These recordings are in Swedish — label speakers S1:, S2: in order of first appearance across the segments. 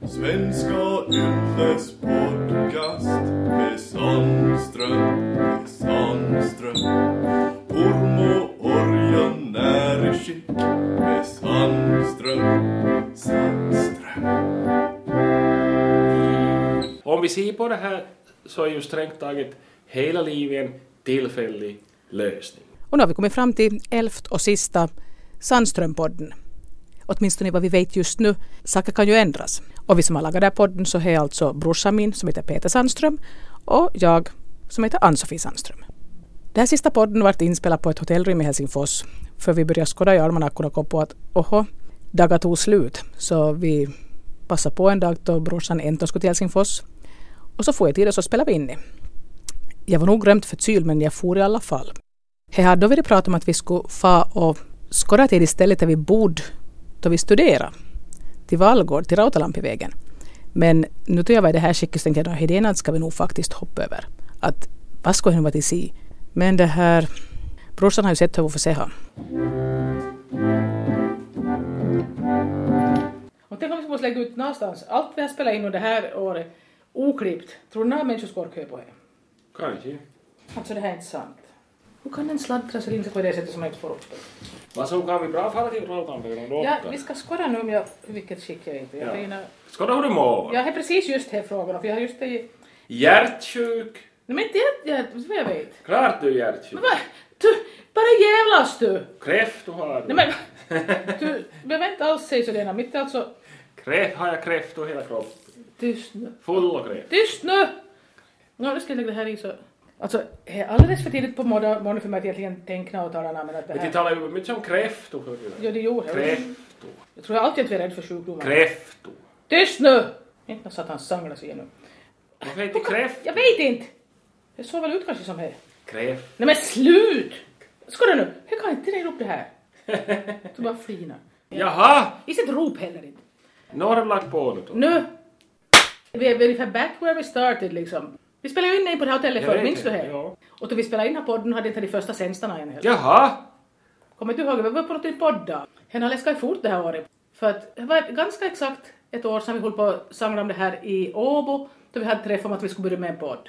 S1: Svenska Yles podcast med Sandström, med Sandström. Orm och Orjan är i skick med Sandström, Sandström.
S2: Om vi ser på det här så är ju strängt taget hela livet en tillfällig lösning.
S3: Och nu har vi kommit fram till elft och sista Sandströmpodden. Åtminstone vad vi vet just nu. Saker kan ju ändras. Och vi som har lagat den här podden så är alltså brorsan min som heter Peter Sandström och jag som heter Ann-Sofie Sandström. Den här sista podden vart inspelad på ett hotellrum i Helsingfors. För vi började skåda i almanackorna och kom på att oho, dagar tog slut. Så vi passade på en dag då brorsan äntligen skulle till Helsingfors. Och så får jag tid och så spelade vi in det. Jag var nog grymt förkyld men jag for i alla fall. Här hade då vi pratat om att vi skulle fa och skåda till det stället där vi bodde då vi studerade. Till Vallgård, till Rautalampivägen. Men nu då jag var i det här skicket så tänkte jag att den ska vi nog faktiskt hoppa över. Att vad ska hon vara till si? Men det här... Brorsan har ju sett hur vi får se här. Och tänk om vi måste lägga ut någonstans. Allt vi har spelat in under det här året oklippt. Tror du några människor ska orka på det?
S2: Kanske.
S3: Alltså det här är inte sant. Hur kan den sladdra så inte på det sättet som jag inte får upp det?
S2: Vad som kan vi bra fara till Rautanvägen om du
S3: Ja,
S2: orkar.
S3: vi ska skåda nu om jag, vilket skick jag är inte. Jag,
S2: Ja.
S3: är inne-
S2: Ska du hur du mår?
S3: jag har precis just här frågan för jag har just det i...
S2: Hjärtsjuk.
S3: Nej men inte jag, jag, vad jag vet.
S2: Klart du är hjärtsjuk.
S3: Men vad, du, bara jävlas du!
S2: Kräft du har du.
S3: Nej men, du behöver inte alls säga sådana. Mitt är alltså,
S2: Kräft har jag kräftor i hela kroppen.
S3: tyst nu.
S2: Full av kräft.
S3: Tyst nu! Nå, nu ska jag lägga det här i så... Alltså, det är alldeles för tidigt på morgon- morgonen för mig att egentligen tänka och tala namn. att det
S2: Men de
S3: här...
S2: talar ju mycket om kräftor förr i
S3: Jo,
S2: världen.
S3: det gjorde jag.
S2: Kräftor.
S3: Jag tror alltid att vi är rädda för sjukdomar.
S2: Kräftor.
S3: Tyst nu! Inte någon satans sanglas igen nu.
S2: Varför heter
S3: Jag
S2: kräftor?
S3: vet inte! Det såg väl ut kanske som här.
S2: Kräft.
S3: Nej men slut! Skoda nu, jag kan inte reda upp det här. Du bara flinar.
S2: Jaha!
S3: Inte ett rop heller inte.
S2: Nu har de lagt på nu då.
S3: Nu! Vi är ungefär back where we started liksom. Vi spelade ju in dig på det här hotellet
S2: Jag
S3: förr,
S2: vet
S3: minns du
S2: inte,
S3: det?
S2: ja.
S3: Och då vi spelade in den här podden hade inte de första sändningarna än heller.
S2: Jaha!
S3: Kommer du ihåg? Vi var på något podd då. Hen har läskat fort det här året. För att det var ganska exakt ett år sedan vi höll på och samlade om det här i Åbo då vi hade träff om att vi skulle börja med en podd.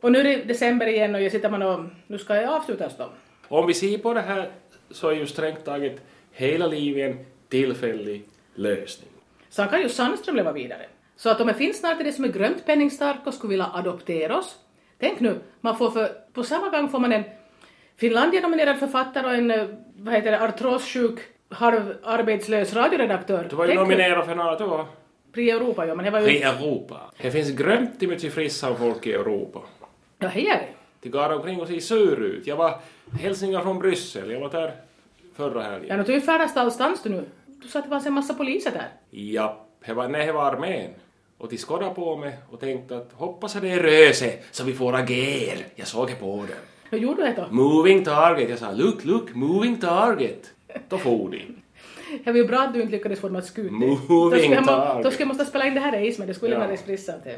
S3: Och nu är det december igen och jag sitter man och nu ska jag avslutas då.
S2: Om vi ser på det här så är ju strängt taget hela livet en tillfällig lösning.
S3: Sen kan ju Sandström leva vidare. Så att om det finns snart det som är grönt penningstark och skulle vilja adoptera oss. Tänk nu, man får för, på samma gång får man en Finlandia-nominerad författare och en eh, vad heter det, artrossjuk halvarbetslös radioredaktör.
S2: Du var ju
S3: Tänk nu,
S2: nominerad för några då.
S3: Pri Europa, ja men det var
S2: I
S3: ju...
S2: Europa. Det finns grömt i mycket frissa folk i Europa.
S3: Ja, hej är det.
S2: De går omkring och ser sur ut. Jag var hälsningar från Bryssel. Jag var där förra
S3: Ja,
S2: helgen.
S3: nu du är färdast allstans du nu. Du sa att det fanns en massa poliser där.
S2: Ja, det var, nej, det var armén. Och de skådade på mig och tänkte att hoppas att det är röse så vi får agera. Jag såg det på dem.
S3: Hur gjorde du det då?
S2: Mm. Moving target. Jag sa look, look, moving target. Då for de.
S3: Det var ju bra att du inte lyckades få dem att skuta dig.
S2: Moving
S3: Då skulle jag må-
S2: target.
S3: Då skulle jag måste spela in det här race men det skulle
S2: Ja.
S3: lämna dig stressad till.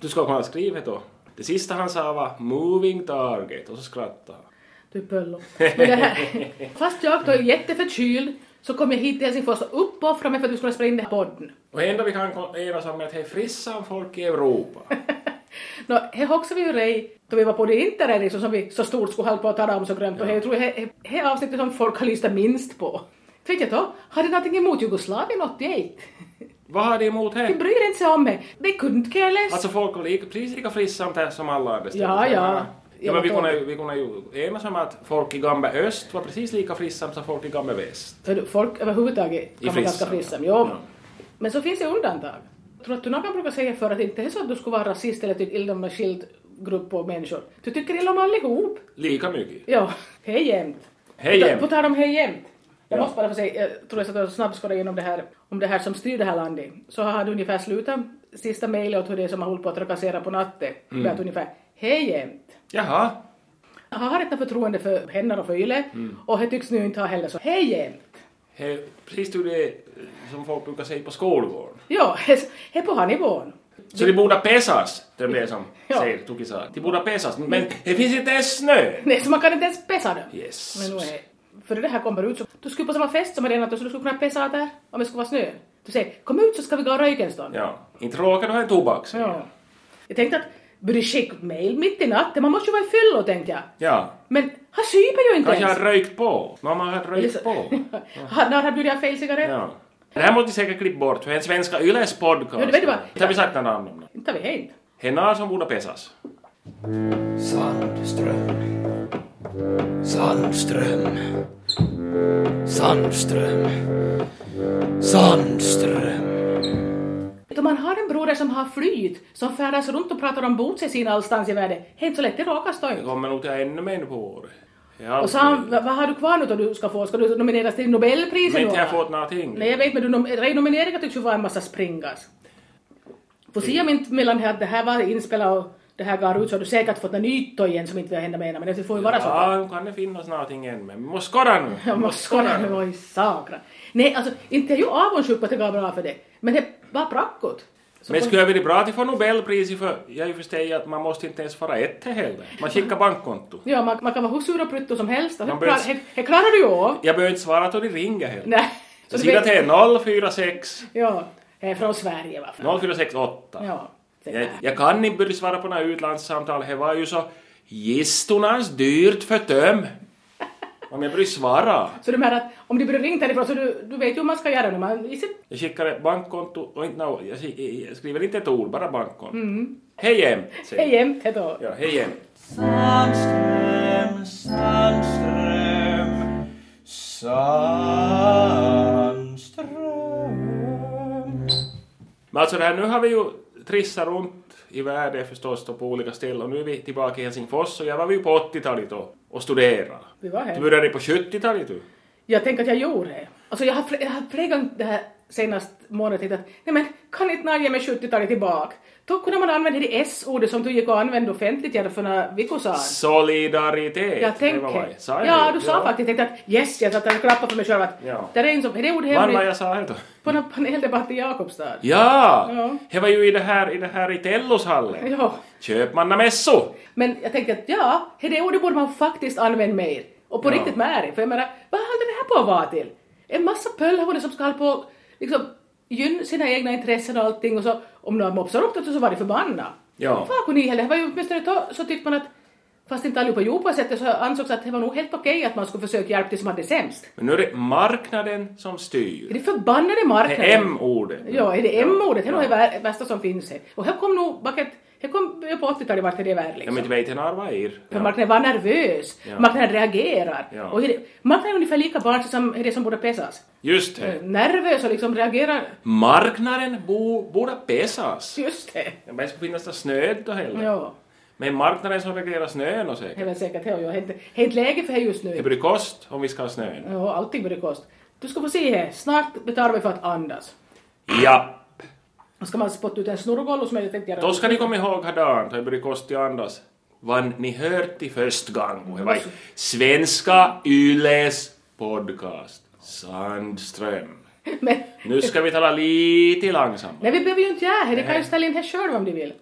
S2: Du ska kunna skriva då. Det sista han sa var moving target och så skrattade han.
S3: Du är pöllo. Men det här, fast jag då är jätteförkyld så kom jag hit till Helsingfors och uppoffrade mig för att vi skulle spela in den här podden.
S2: Och det enda vi kan kon- enas om är att det är frissan folk i Europa.
S3: Nå, här hoxade vi ju dig då vi var på det internet liksom, som vi så stort skulle hålla på att tala om så grönt och här tror jag här- här- här är avsnittet som folk har lyssnat minst på. Vet jag då, har du någonting emot Jugoslavien 88?
S2: Vad har de emot
S3: De
S2: det?
S3: bryr inte sig om mig. Det kunde inte jag läsa.
S2: Alltså folk var lika, precis lika frissamt här som alla andra ställen.
S3: Ja, ja.
S2: Ja, men vi kunde, ju- vi kunde ju enas om att folk i Gamla Öst var precis lika frissamt som folk i Gamla Väst.
S3: För folk överhuvudtaget kan vara ganska
S2: Frissam,
S3: frissam.
S2: ja.
S3: Jo.
S2: Ja.
S3: Men så finns det undantag. Jag tror att du någon brukar säga för att det inte är så att du skulle vara rasist eller tycker illa om en skild grupp av människor. Du tycker illa om allihop.
S2: Lika mycket.
S3: Ja, hej jämt.
S2: Hej
S3: På-
S2: jämt.
S3: På tal om hej jämt. Jag
S2: Ja.
S3: måste bara få säga, jag tror jag ska snabbskåda igenom det här, om det här som styr det här landet. Så har han ungefär slutat sista mejlet åt hur det är som har hållit på att trakassera på natten. Mm. Att ungefär, hej jämt.
S2: Jaha.
S3: Han har inte förtroende för henne och för Yle
S2: Mm.
S3: och det tycks nu inte ha heller så, hej jämt.
S2: Det är precis hur det är, eh, som folk brukar säga på skolgården.
S3: Ja, det är på här nivån.
S2: Så de borde pesas, det är det som
S3: Ja.
S2: säger Tukisar. De borde pesas, men det finns inte ens snö!
S3: Nej, så man kan inte ens pessa dem.
S2: Yes.
S3: Men nu är, för det här kommer ut så, du skulle på samma fest som redan att du skulle kunna pessa där om det skulle vara snö. Du säger kom ut så ska vi gå och röka en stund.
S2: Ja. Inte råkar du ha en tobak, säger jag.
S3: Ja. Jag tänkte att borde skicka mail mitt i natten, man måste ju vara i fyllo tänkte jag.
S2: Ja.
S3: Men han super ju inte
S2: Kanske
S3: ens.
S2: har rökt på. Mamma har rökt på.
S3: Han har bjudit av fel cigarett.
S2: Ja. Det här måste vi säkert klippa bort, för en svenska yles podcast.
S3: Ja, det vet du vad.
S2: Det har vi sagt några namn om.
S3: Inte har vi hejt.
S2: Hennar som borde pesas.
S4: Sandström. Sandström. Sandström. Sandström.
S3: Om man har en broder som har flyt, som färdas runt och pratar om botsesin allstans i världen, det är inte så lätt det råkar stå
S2: Det
S3: ut.
S2: kommer nog till ännu mer nu på året. Ja,
S3: Och så han, vad vad har du kvar nu då du ska få? Ska du nomineras till Nobelpriset
S2: Men
S3: nu,
S2: inte har
S3: va?
S2: fått någonting.
S3: Nej, jag vet, men du nom- renomineringar tycks ju vara en massa springas. Får se om inte mellan här, att det här var inspelat och det här går ut så har du säkert fått något nytt då igen som inte vi har hänt med ena, men det får ju vara så.
S2: Ja, nu kan det finnas någonting än, men vi måste skåda nu.
S3: Jag måste skoja nu, oj sakra. Nej, alltså inte är jag avundsjuk på att det går bra för det, men det var prackot. Så
S2: Men
S3: på-
S2: skulle jag vilja bra att få Nobelpriset för jag förstår att man måste inte ens fara ett till heller. Man skickar bankkonto.
S3: Ja, man, man kan vara hur sur och prutto som helst. och Det
S2: Man behöver-
S3: klar- det- det klarar du ju av.
S2: Jag behöver inte svara då de ringer heller.
S3: Nej.
S2: Så
S3: du
S2: sida
S3: vet-
S2: till 046
S3: Ja, jag är från Sverige varför?
S2: 0468.
S3: Ja. det
S2: Jag,
S3: där.
S2: jag kan inte börja svara på några utlandssamtal, det var ju så gistornas dyrt för töm. Om jag börjar svara.
S3: Så du menar att om du blir ringt härifrån så du, du vet ju hur man ska göra nu. Man, i sitt-
S2: Jag skickar ett bankkonto och inte nå- jag, sk- jag skriver inte ett ord, bara bankkonto. Hej jämt, säger
S3: Mm. hej
S2: jag.
S3: jämt, hej då.
S2: Ja, hej jämt.
S4: Sandström. Sandström. Sandström.
S2: Men alltså det här, nu har vi ju trissat runt i världen förstås då på olika ställen och nu är vi tillbaka i Helsingfors och jag var ju på 80-talet då och studerade.
S3: Vi var
S2: Du
S3: här.
S2: började på 70-talet du.
S3: Jag tänker att jag gjorde det. Alltså jag har, fl- jag har flera gånger det här senast månaden tänkt att nej men kan inte någon ge mig 70-talet tillbaka? Då kunde man använda det S-ordet som du gick och använde offentligt gärna för några veckor sedan.
S2: Solidaritet.
S3: Jag
S2: det var vad
S3: tänker.
S2: jag sa.
S3: Ja, du sa faktiskt jag tänkte att yes, jag satt och klappade för mig själv att
S2: Ja.
S3: där är en som, är det ordet
S2: Var var
S3: hemligt?
S2: jag sa det då?
S3: På en paneldebatt i Jakobstad.
S2: Ja!
S3: Ja.
S2: Det var ju i det här, i det här i Telloshallen.
S3: Ja.
S2: Köpmannamässo!
S3: Men jag tänkte att ja, he, det ordet borde man faktiskt använda mer. Och på
S2: Ja.
S3: riktigt med det. För jag menar, vad håller det här på att vara till? En massa pöllhuvuden som ska hålla på och liksom gynna sina egna intressen och allting och så om några mopsar upp det så var det förbannat.
S2: Ja.
S3: Fan kunde ni heller, det var ju åtminstone då så tyckte man att fast inte allihopa gjorde på det sättet så ansågs att det var nog helt okej att man skulle försöka hjälpa till som hade det sämst.
S2: Men nu är det marknaden som
S3: Är
S2: styr.
S3: det förbannade
S2: Det
S3: marknaden?
S2: är M-ordet.
S3: Ja, är det M-ordet? Det är nog det
S2: Ja.
S3: vär- värsta som finns här. Och här kom nog, bucket, här kom på 80-talet vart det värre
S2: Ja,
S3: liksom.
S2: men inte vet jag när vad är.
S3: För
S2: Ja.
S3: marknaden var nervös,
S2: Ja.
S3: marknaden reagerar.
S2: Ja.
S3: Och är det, marknaden är ungefär lika barnslig som är det som borde pesas.
S2: Just det.
S3: Nervös och liksom reagerar.
S2: Marknaden bo, borde pesas.
S3: Just det.
S2: Ja, Men det skulle finnas där snö då heller.
S3: Ja,
S2: Men marknaden som reglerar snön och
S3: det är
S2: säkert.
S3: väl säkert det. Ja, helt, helt läge för det just
S2: Det
S3: nu.
S2: blir kost om vi ska ha snön.
S3: Ja, allting borde kosta. Du ska få se här, snart betalar vi för att andas.
S2: Ja.
S3: Och ska man spotta ut en snorgolv som jag tänkte göra.
S2: Då ska ni komma ihåg hurdant det blir kost i andas. Vad ni hört i först gång. Och det var i Svenska Yles podcast. Sandström.
S3: Men,
S2: Nu ska vi tala lite långsammare.
S3: nej, vi behöver ju inte göra det. Det kan ju ställa in här själv om du vill.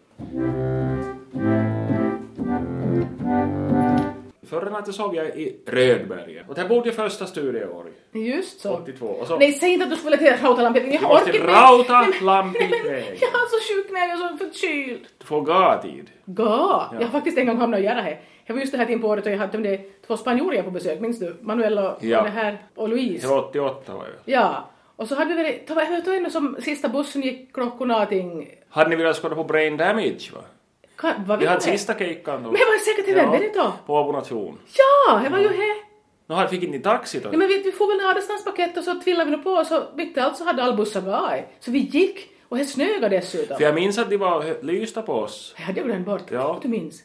S2: Förra natten sov jag i Rödberget. Och där bodde jag första studieåret.
S3: Just så.
S2: 82. Och så
S3: Nej, säg inte att du skulle vilja till Rautalampi. Jag
S2: Vi måste
S3: orkar inte.
S2: rauta
S3: Nej, men-
S2: lampi
S3: nej, men
S2: väg.
S3: Jag är så sjuk när jag är så förkyld.
S2: får gatid.
S3: Ja,
S2: Ja.
S3: jag har faktiskt en gång hamnat och göra det. Jag var just det här tiden på året och jag hade de där två spanjorer på besök, minns du? Manuel och,
S2: Ja.
S3: och, det här, och
S2: Det
S3: Louise.
S2: var 88 var jag.
S3: Ja. Och så hade vi väl, det var- jag tror ändå som sista bussen gick klockan någonting.
S2: Hade ni velat skåda på brain damage va?
S3: Kan- Vad
S2: Vi
S3: vet
S2: hade
S3: jag?
S2: sista keikan då.
S3: Men det var säkert i väldigt då.
S2: På Åbo nation.
S3: Ja, det var ju här.
S2: Nå, hade- fick inte ni taxi då?
S3: Nej men vi, vi får väl en adelsdanspaket och så tvillade vi nog på och så mitt i allt så hade all bussar varit. Så vi gick och det snöade dessutom.
S2: För jag minns att de var hö- lysta på oss.
S3: Jag hade ju glömt bort,
S2: Ja.
S3: du minns.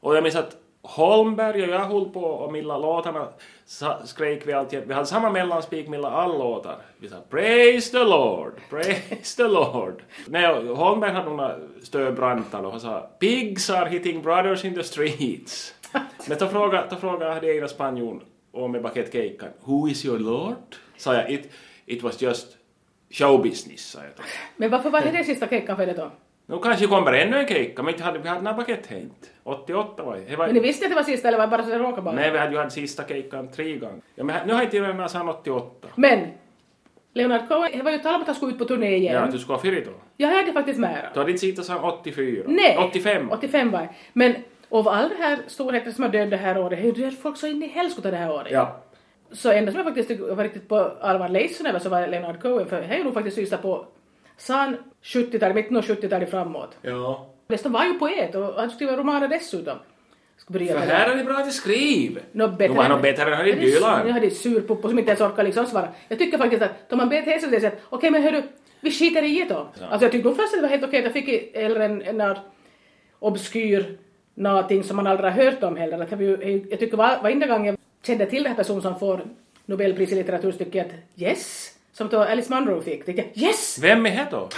S2: Och jag minns att Holmberg och jag höll på och milla låtarna sa- skrek vi alltid. Vi hade samma mellanspik milla all låtar. Vi sa “Praise the Lord, praise the Lord”. Nej, och Holmberg hade några stödbrantar och han sa “Pigs are hitting brothers in the streets”. Men då frågade, då frågade jag den egna spanjon och med baketkeikan “Who is your Lord?” sa jag. It, it was just show business, sa jag då.
S3: Men varför var det den sista kekan för det då?
S2: Nu kanske kommer ännu en keikka, men inte hade vi hade några baket hänt. 88 var det. det. var-
S3: Men ni visste att det var sista eller var det bara så det råkade vara?
S2: Nej, vi hade ju haft sista keikan tre gånger. Ja, men här- nu har inte jag redan sagt 88.
S3: Men Leonard Cohen, det var ju tal om att han skulle ut på turné igen.
S2: Ja, att du skulle ha fyrit då.
S3: Jag ägde faktiskt med
S2: Du hade inte sittat sedan 84?
S3: Nej.
S2: 85?
S3: 85 var jag. Men av all den här storheten som har död det här året, hur död folk så in i helskotta det här året.
S2: Ja.
S3: Så enda som jag faktiskt tycker var riktigt på allvar ledsen över så var Leonard Cohen, för han gjorde faktiskt syster på san 70-talet, mitten av 70-talet framåt.
S2: Ja.
S3: Dessutom var han ju poet och han skrev romaner dessutom. Ska börja
S2: För
S3: med
S2: här
S3: det.
S2: är det bra att du skriver.
S3: Nå, bättre
S2: Nu var
S3: än-
S2: nog bättre än här i
S3: Ja, det är sur- Jag
S2: Dylan.
S3: hade surpuppo som inte ens orkar liksom svara. Jag tycker faktiskt att de har bett hej så det säger okej men hörru, vi skiter i det då. Alltså jag tyckte nog först att det var helt okej, jag fick i- eller en, en här obskyr någonting som man aldrig har hört om heller. Att jag, ju- jag tycker var- varenda gång jag kände till den här personen som får Nobelpris i litteratur så tycker jag att yes, som då Alice Munro fick, tyckte jag yes!
S2: Vem är det då?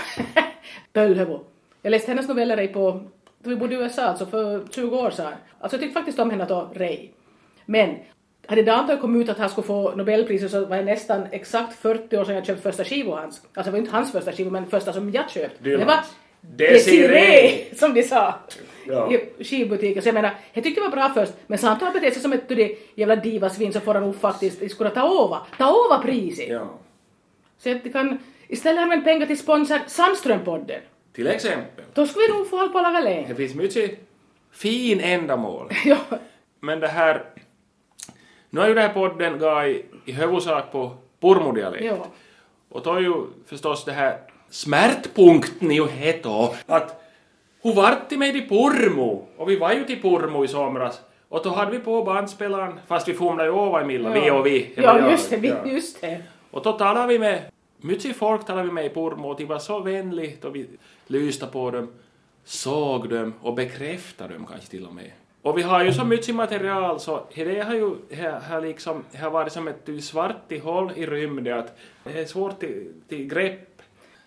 S3: Pölhövo. Jag läste hennes noveller i på, då vi bodde i USA, alltså för 20 år sedan. Alltså jag tyckte faktiskt om henne då, Ray. Men hade Dantor kommit ut att han skulle få Nobelpriset så var det nästan exakt 40 år sedan jag köpte första skivan hans. Alltså det var inte hans första skiva men första som jag köpte.
S2: Dylans.
S3: Det var
S2: Desiree.
S3: Desiree, som de sa.
S2: Ja.
S3: I skivbutiken. Så jag menar, jag tyckte det var bra först. Men sen har han betett sig som ett du vet, jävla divasvin så får han nog faktiskt, skulle ta över, ta över priset.
S2: Ja.
S3: Så att de kan istället använda pengar till sponsor Sandströmpodden.
S2: Till exempel.
S3: Då skulle vi nog få hålla på alla
S2: Det
S3: väl
S2: finns mycket fin ändamål.
S3: Ja,
S2: Men det här... Nu har ju den här podden gått i huvudsak på purmodialekt.
S3: ja.
S2: Och då är ju förstås det här smärtpunkten ju hett då, att hur vart det med i Pormo? Och vi var ju till Pormo i somras. Och då hade vi på bandspelaren, fast vi fumlade ju över i Milla, vi och vi. det var
S3: Ja,
S2: jag.
S3: just det, vi,
S2: Ja.
S3: just det.
S2: Och då talade vi med, mycket folk talade vi med i Pormo och de var så vänligt och vi lyste på dem, såg dem och bekräftade dem kanske till och med. Och vi har ju så mycket material så det har ju här, här liksom, här varit som ett svart i hål i rymden att det är svårt till, till grepp.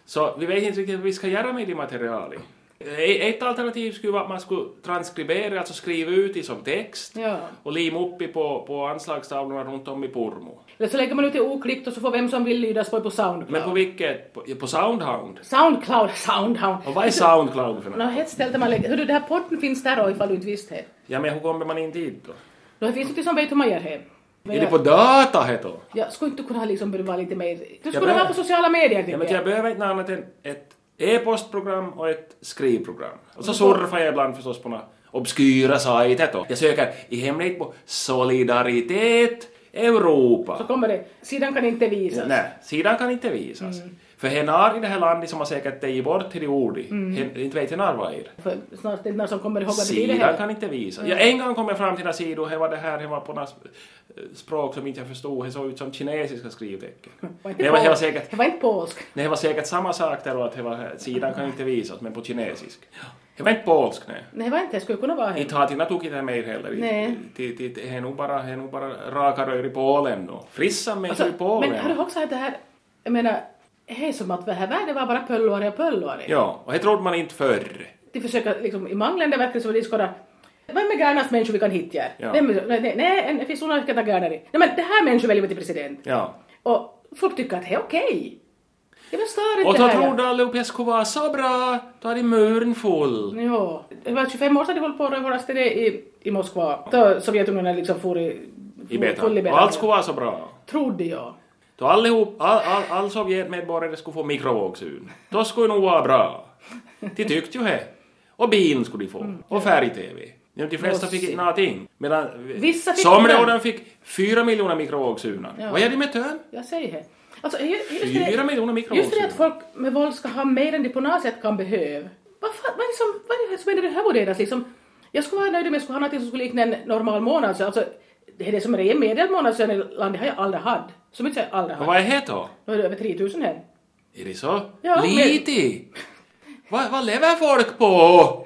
S2: Så vi vet inte riktigt vad vi ska göra med det materialet. E- Ett alternativ skulle vara att man skulle transkribera, alltså skriva ut det som text
S3: Ja.
S2: och lima upp det på, på anslagstavlorna runt om i Pormo.
S3: Eller så lägger man ut det oklippt och så får vem som vill lydas på på
S2: Men på
S3: Soundcloud.
S2: vilket? På, på Soundhound?
S3: Soundcloud, Soundhound.
S2: Och vad är Soundcloud för
S3: Nå,
S2: något?
S3: ett ställe där man lägger... Hördu, den här podden finns där då ifall du inte visste det.
S2: Ja men hur kommer man in dit då?
S3: Nå, det finns inte som vet hur man gör det. Men
S2: Är det
S3: jag,
S2: på data här då?
S3: jag skulle inte kunna liksom börja vara lite mer... Du skulle
S2: behöver-
S3: vara på sociala medier,
S2: Ja,
S3: tycker
S2: men jag
S3: jag.
S2: behöver inte något annat än ett e-postprogram och ett skrivprogram. Och så surfar jag ibland förstås på några obskyra sajter då. Jag söker i hemlighet på Solidaritet Europa.
S3: Så kommer det. Sidan kan inte visas.
S2: Nej, sidan kan inte visas.
S3: Mm.
S2: För henar i det här landet som har säkert tagit bort till det ordet,
S3: Mm.
S2: Hen- inte vet henar vad är det.
S3: För snart det är någon som kommer ihåg vad det Mm. betyder
S2: Sidan
S3: heller.
S2: kan inte visa. Ja, en gång kom jag fram till den här sidan, det var det här, det var på några sp- språk som inte jag förstod, det såg ut som kinesiska skrivtecken.
S3: Var
S2: Men
S3: inte
S2: det var, det var
S3: polsk.
S2: säkert,
S3: Det var inte polsk.
S2: nej, det var säkert samma sak där och att det var, sidan kan inte visas, men på kinesisk. Det var inte polsk, nej.
S3: Nej, det var inte. Det skulle kunna vara det.
S2: Inte har Tina tagit det mer heller.
S3: Nej.
S2: Det- det- Det är nog bara, det är nog bara raka rör i Polen då. Frissan med
S3: Alltså,
S2: i Polen.
S3: men har du också hört det här, jag menar, hej som att det här världen var bara pölluare och pölluare.
S2: Ja, och det trodde man inte förr.
S3: De försöker liksom, i många länder verkar det som att de skådar, vem är garnast människor vi kan hitta här?
S2: Ja.
S3: Vem, nej, nej, nej, det finns några som garnar i. Nej men det här människan väljer vi till president.
S2: Ja.
S3: Och folk tycker att det är okej. Jag förstår inte
S2: Och då
S3: det här. ja.
S2: trodde allihop jag skulle vara så bra, då hade muren full.
S3: Ja, det var 25 år sedan de höll på och rövrades till det i, i Moskva. Då Sovjetunionen liksom for i,
S2: I
S3: for-
S2: betan.
S3: full
S2: Och allt skulle vara så bra.
S3: Trodde jag.
S2: Då allihop, all, all, all Sovjetmedborgare skulle få mikrovågsugn. Då skulle det nog vara bra. De tyckte ju det. Och bilen skulle de få.
S3: Mm.
S2: Och färg-tv. Men De flesta fick inte någonting. Medan
S3: Vissa fick
S2: somliga
S3: den.
S2: åren fick fyra miljoner mikrovågsugnar.
S3: Ja.
S2: Vad gör de med tön?
S3: Jag säger det. Alltså, ju- just det-
S2: Fyra miljoner
S3: Just det
S2: mikrovågsugnar.
S3: att folk med våld ska ha mer än de på något sätt kan behöva. Vad, fan, vad, är det som, vad är det som händer i huvudderas liksom? Jag skulle vara nöjd om jag skulle ha något som skulle likna en normal månad. Så Alltså, det är det som är en medelmånadslön i landet har jag aldrig haft. Så mycket har jag aldrig
S2: Och
S3: haft.
S2: vad är det då?
S3: Nu är det över 3000 här.
S2: Är det så?
S3: Ja, men-
S2: Lite? Vad, vad lever folk på?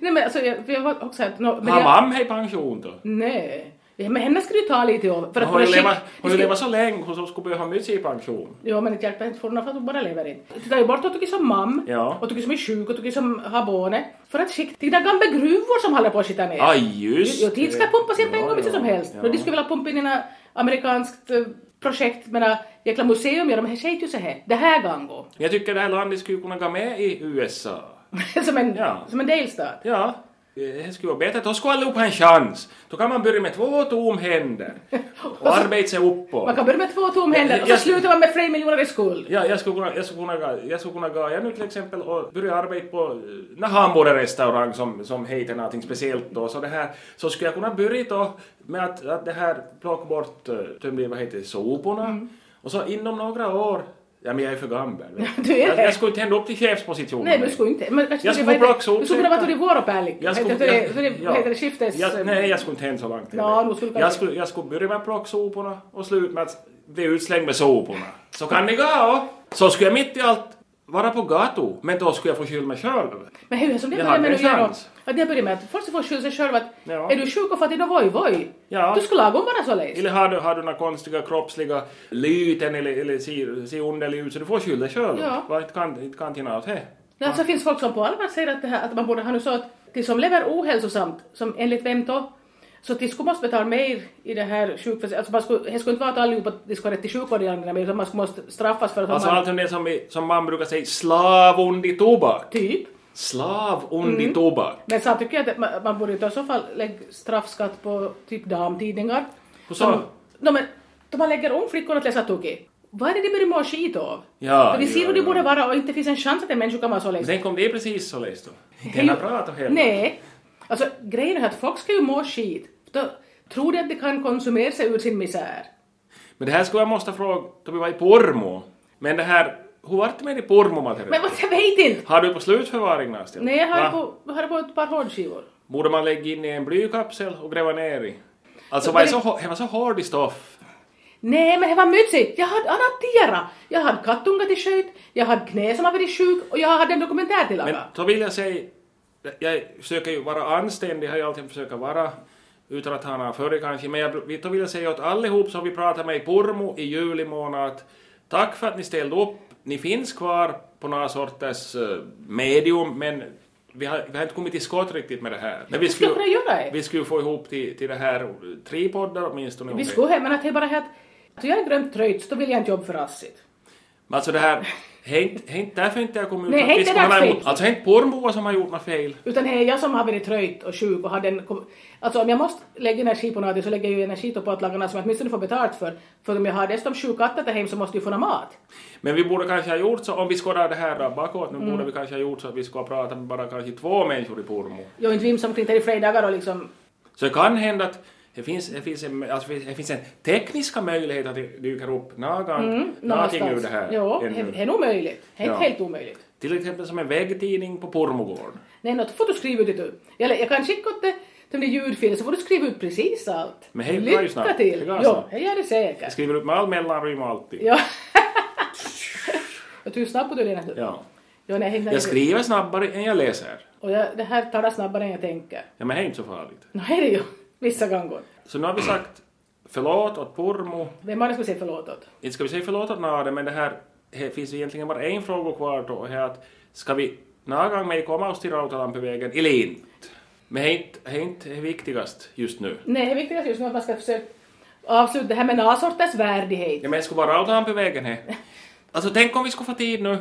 S3: Nej men alltså, jag, för jag var också här... No, men
S2: Har
S3: jag,
S2: mamma i pension då?
S3: nej. Ja, Men henne skulle ju ta lite om. För
S2: Hon har
S3: kunna
S2: ju
S3: skicka-
S2: levat- hon har ju levat så länge, hon skulle behöva mycket i pension.
S3: Jo men det hjälper inte för hon har för att hon bara lever inte. Titta ju bort åt du som mam
S2: Ja.
S3: och du som är sjuk och du som har barnet för att skicka till de gamla gruvor som håller på att skita ner.
S2: Aj, just
S3: Jo, tid ska
S2: det.
S3: pumpa sina
S2: Ja,
S3: pengar hur mycket
S2: ja,
S3: som helst.
S2: ja.
S3: Ja. De skulle vilja pumpa in i något amerikanskt eh, projekt, men jäkla museum, ja, de här sket ju så här. Det här gången.
S2: Men Jag tycker det här landet skulle kunna gå med i USA.
S3: som, en,
S2: Ja.
S3: som en delstat.
S2: Ja, eh, Det skulle vara bättre att då skulle allihopa ha en chans. Då kan man börja med två tom händer och arbeta sig uppåt.
S3: Man kan börja med två tomhänder och så
S2: Jag-
S3: slutar man med flera miljoner i skuld.
S2: Ja, jag skulle kunna, jag skulle kunna, gå- jag skulle kunna gå jag nu till exempel och börja arbeta på en hamburgerrestaurang som, som heter någonting speciellt då, så det här, så skulle jag kunna börja då med att, att det här plocka bort, eh, tömma, vad heter det, soporna
S3: Mm.
S2: och så inom några år, ja men jag är för gammal. vet
S3: Du är
S2: jag,
S3: det.
S2: jag skulle inte hända upp till chefspositionen.
S3: Nej, du skulle inte. Men,
S2: Jag skulle få plocka
S3: Du skulle kunna
S2: solsidan.
S3: vara Tori Vuoropäällikkö.
S2: Jag
S3: Heter
S2: skulle,
S3: det-
S2: jag,
S3: Tori- vad heter det? Skiftes...
S2: jag, nej, jag skulle inte hända så långt.
S3: Nå,
S2: heller.
S3: nu skulle kanske-
S2: jag, skulle, jag skulle börja med att plocka soporna och sluta med att bli utslängd med soporna. Så kan ni gå! Så skulle jag mitt i allt vara på gatan, men då skulle jag få skylla mig själv.
S3: Men hur som det
S2: Jag
S3: börjar med
S2: hade
S3: nu
S2: en
S3: göra
S2: chans.
S3: att det börjar med att först så får skylla sig själv att
S2: Ja.
S3: är du sjuk och fattig då voj voj.
S2: Ja.
S3: Du skulle lagom vara så läs.
S2: Eller har du, har du några konstiga kroppsliga lyten eller, eller ser, ser underlig ut så du får skylla dig själv.
S3: Ja.
S2: Va, Inte kan, inte kan tina åt det.
S3: Nej, alltså finns folk som på allvar säger att, det här, att man borde ha nu så att de som lever ohälsosamt, som enligt vem då? Så att de skulle måste betala mer i det här sjukförsäkringen. Alltså man skulle, det skulle inte vara att allihopa de skulle ha rätt till sjukvård i andra, men utan man skulle måste straffas för att
S2: Alltså
S3: man...
S2: allt det som, vi, som man brukar säga, slavundi tobak.
S3: Typ.
S2: Slavundi
S3: Mm.
S2: tobak.
S3: Men så tycker jag att man, man borde i så fall lägga straffskatt på typ damtidningar.
S2: Hur så?
S3: Som- No, men, då man lägger om flickor att läsa tuki. Vad är det de börjar må skit av?
S2: Ja,
S3: För vi ser
S2: ja,
S3: hur det
S2: ja.
S3: borde vara och inte finns en chans att en människa kan vara så
S2: Men
S3: läst.
S2: tänk om det är precis så läst då. Inte ena prat och heller.
S3: Nej. Alltså grejen är att folk ska ju må skit. Då tror de att de kan konsumera sig ur sin misär.
S2: Men det här skulle jag måste fråga då vi var i Pormo. Men det här, hur vart det med det Pormo-materialet?
S3: Men vad, jag vet inte!
S2: Har du på slutförvaring Nastia?
S3: Nej, jag har
S2: Va?
S3: på, jag har på ett par hårdskivor.
S2: Borde man lägga in i en blykapsel och gräva ner i? Alltså
S3: Men-
S2: var det så, hå- det var så hård i stoff.
S3: Nej, men det var mysigt. Jag hade annat att göra. Jag hade kattungar till sköt, jag hade knä som har varit sjuk och jag hade en dokumentär till
S2: Men
S3: alla.
S2: då vill jag säga, jag försöker ju vara anständig, har jag alltid försökt vara. Utan att ha några före kanske, men jag, då vill jag säga åt allihop som vi pratar med i Pormo i juli månad, tack för att ni ställde upp. Ni finns kvar på några sorters eh, medium, men vi har, vi har inte kommit till skott riktigt med det här. Men vi
S3: Vad skulle jag kunna göra? det?
S2: Vi skulle få ihop till, till det här tre poddar åtminstone.
S3: Vi skulle hem, men att det är bara här att... Då jag är grönt tröjt, så då vill jag inte jobba för rassigt.
S2: Men alltså det här, häng därför inte jag kom ut
S3: Nej,
S2: att
S3: häng
S2: vi
S3: det
S2: skulle
S3: där
S2: hålla emot.
S3: fel.
S2: Alltså häng porrboa som har gjort något fel.
S3: Utan det är jag som har varit tröjt och sjuk och har den... kom- Alltså om jag måste lägga energi på något så lägger jag ju energi då på att laga något som jag åtminstone får betalt för. För om jag har dessutom sju katter där hem så måste jag få någon mat.
S2: Men vi borde kanske ha gjort så, om vi skådar det här då bakåt nu,
S3: Mm.
S2: borde vi kanske ha gjort så att vi skulle ha pratat med bara kanske två människor i porrmo.
S3: Jag är inte vimsar omkring där i fredagar och liksom...
S2: Så det kan hända att det finns, det finns, en, alltså det finns en tekniska möjlighet att det dyker upp någon, någonting ur
S3: Mm, någonstans.
S2: det här.
S3: Jo, det
S2: ännu.
S3: det är nog möjligt. Det är inte
S2: Ja.
S3: helt omöjligt.
S2: Till exempel som en väggtidning på Pormogård.
S3: Nej, nå, då får du skriva ut det du. Eller jag kan skicka åt dig till din ljudfil så får du skriva ut precis allt.
S2: Men hej, det går ju
S3: Lycka
S2: snabbt.
S3: till!
S2: Det går
S3: Jo,
S2: snabbt.
S3: det gör det säkert.
S2: Jag skriver upp med all mellanrum och allting.
S3: Ja. jag tror snabb på det redan. Ja.
S2: Ja.
S3: Ja, nej, nej,
S2: Jag skriver snabbare än jag läser.
S3: Och jag, det här talar snabbare än jag tänker.
S2: Ja, men det är inte så farligt.
S3: Nå är det ju vissa gånger.
S2: Så nu har vi sagt förlåt åt Pormo.
S3: Vem man skulle säga förlåt åt?
S2: Inte ska vi säga förlåt åt Nade, men det här här finns egentligen bara en fråga kvar då. och Det är att ska vi någon gång med komma oss till Rautalampivägen eller inte? Men det är inte, det är inte det viktigast just nu.
S3: Nej, det viktigaste just nu är att man ska försöka avsluta det här med någon sorters värdighet.
S2: Ja, men det skulle vara Rautalampivägen här. Alltså tänk om vi skulle få tid nu.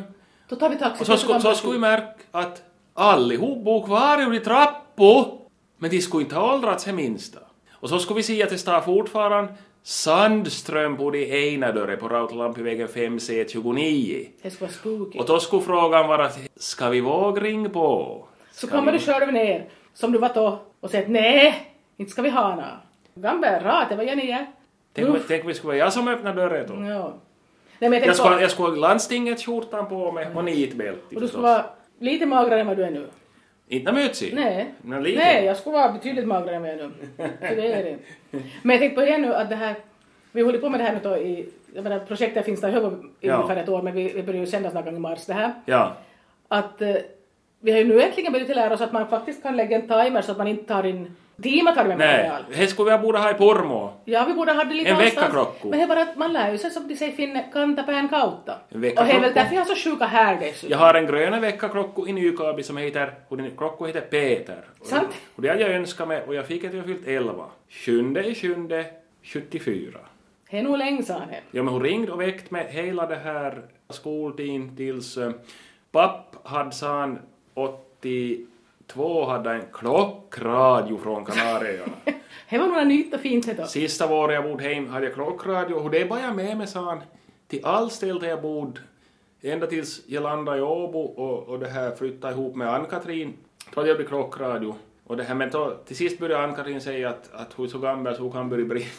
S3: Då tar vi taxi.
S2: Och så skulle, så skulle vi märka att allihop bor kvar ur i trappor. Men de skulle inte ha åldrats det minsta. Och så skulle vi se att det står fortfarande Sandström bodde i Einadörre på Rautalampivägen 5C29.
S3: Det skulle vara spooky.
S2: Och då skulle frågan vara, ska vi våga ring på?
S3: Så
S2: Ska
S3: kommer
S2: vi-
S3: du själv ner, som du var då, och säger att nej, inte ska vi ha nå. Gamla rat, det Mm. var Jenny ja.
S2: Tänk, om- tänk om det skulle vara jag som öppnar dörren då.
S3: Ja. Nej, men jag
S2: Jag
S3: tänkte
S2: skulle,
S3: på,
S2: jag skulle ha landstinget skjortan på mig och nitbälte
S3: och du skulle
S2: förstås.
S3: vara lite magrare än vad du är nu.
S2: Inte mötsig.
S3: Nej.
S2: Men lite.
S3: Nej, jag skulle vara betydligt magrare än vad jag är nu. Så det är det. Men jag tänkte på det nu att det här, vi håller på med det här nu då i, jag menar projektet finns där över i
S2: Ja.
S3: ungefär ett år men vi, vi börjar ju sändas någon gång i mars det här.
S2: Ja.
S3: Att eh, vi har ju nu äntligen börjat lära oss att man faktiskt kan lägga en timer så att man inte tar in timmar tar det med
S2: Nej,
S3: material.
S2: det skulle vi borde ha i Pormo.
S3: Ja, vi borde ha det lite
S2: En
S3: någonstans.
S2: veckakrocku.
S3: Men det är bara att man lär ju sig som de säger finne kanta pään kautta.
S2: En
S3: Och det är väl
S2: veckakrocku.
S3: därför jag har så sjuka här dessutom.
S2: Jag har en gröna veckaklocka i Nykabi som heter, och den klockan heter Peter. Och-
S3: Sant.
S2: Och det hade jag önskat mig och jag fick att jag fyllt 11. Sjunde i sjunde 74.
S3: Det är nog länge sedan det.
S2: Ja men hon ringde och väckte mig hela det här skoltiden tills eh, papp hade sa han 80 två hade en klockradio från Kanarieöarna.
S3: Det var något nytt och fint det då.
S2: Sista året jag bodde hem hade jag klockradio och det var jag med mig, sa han, till all ställe där jag bod. Ända tills jag landade i Åbo och, och det här flyttade ihop med Ann-Katrin. Då hade jag blivit klockradio. Och det här, men då, till sist började Ann-Katrin säga att, att hon är så gammal så hon kan börja brinna.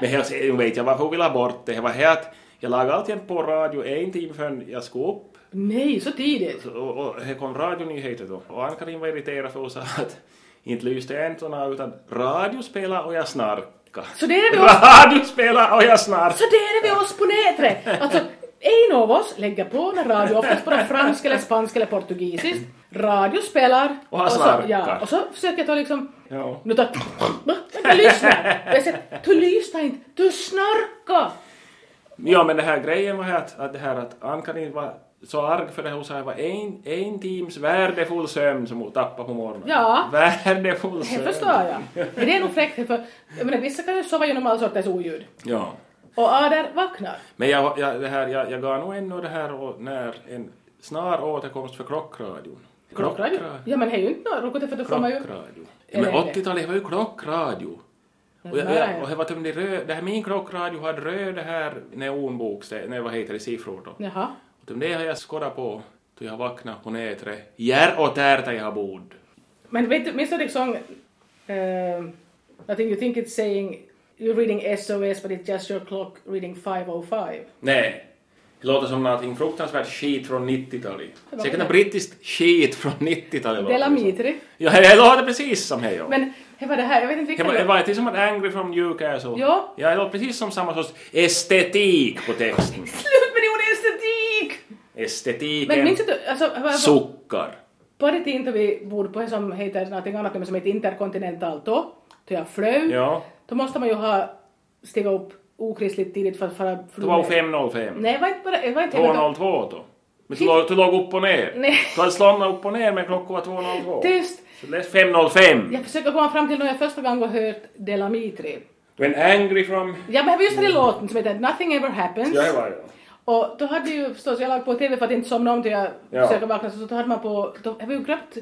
S2: men jag säger, hon vet jag varför hon vill ha bort det. Det var här att jag lagade alltjämt på radio en timme förrän jag skulle upp
S3: Nej, så tidigt.
S2: och, och här kom radionyheter då. Och Ann-Karin var irriterad för hon sa att inte lyste äntorna utan radio spelar och jag snarkar.
S3: Så det är vi också.
S2: Radio spelar och jag snarkar.
S3: Så Alltså, det är vi oss på nätet. Alltså, en av oss lägger på en radio, oftast bara franska eller spanska eller portugisiskt. Radio spelar.
S2: Och han
S3: så,
S2: snarkar.
S3: ja, och så försöker jag ta liksom...
S2: Ja.
S3: Nu tar... Men jag lyssnar. Och jag säger, du lyssnar inte, du snarkar.
S2: Ja men det här grejen var här att, att det här att Ann-Karin var så arg för det hon sa det var en, en tims värdefull sömn som hon tappade på morgonen.
S3: Ja.
S2: Värdefull sömn.
S3: Det förstår jag. Men det är nog fräckt, för jag menar, vissa kan ju sova genom all sorters oljud.
S2: Ja.
S3: Och Ader vaknar.
S2: Men jag, jag, det här, jag, jag gav nog ännu det här och när en snar återkomst för klockradion.
S3: Klockradio? Ja, men det är ju inte något roligt, för då får man ju...
S2: Klockradio. Ja, men
S3: Eller är det-
S2: 80-talet var ju klockradio. Och, jag, och, jag, och det var tömd i röd, det här min klockradio hade röd det här neonbokstäver, nej vad heter det, siffror då.
S3: Jaha.
S2: Och tömd det har jag skådat på då jag vaknade på nätet. Jär och tärta jag bod.
S3: Men vet du, minns du liksom... Uh, I think you think it's saying you're reading SOS but it's just your clock reading 505.
S2: Nej. Det låter som någonting fruktansvärt skit från 90-talet.
S3: Det var
S2: Säkert
S3: det.
S2: en brittiskt skit från 90-talet. låter
S3: Dela
S2: det som.
S3: Mitri.
S2: Ja, det låter precis som det gör.
S3: Men det var det här, jag vet inte
S2: Det
S3: riktigt.
S2: var, det var precis som att Angry from Newcastle.
S3: Ja.
S2: Ja, det var precis som samma sorts estetik på texten.
S3: Slut med din estetik!
S2: Estetiken.
S3: Men minns du inte, alltså... vad-
S2: Suckar.
S3: På det tiden då vi bodde på en som heter någonting annat, men som heter interkontinental då, då jag flög,
S2: Ja.
S3: då måste man ju ha stigit upp okristligt tidigt för att fara...
S2: Det var 505.
S3: Nej, det var inte bara... Det var inte hela-
S2: 202 då. Men du låg, du låg upp och ner.
S3: Nej.
S2: Du hade slagit upp och ner men klockan var 202.
S3: Tyst!
S2: Så du läste 505.
S3: Jag försöker komma fram till när jag första gången har hört Delamitri.
S2: Du är en angry from...
S3: Ja, men just den här låten som heter Nothing Ever Happens.
S2: Mm. Ja, det var jag.
S3: Och då hade ju förstås, jag lagt på TV för att inte somna om till jag
S2: Ja.
S3: försöker vakna, så då hade man på, då hade vi ju knappt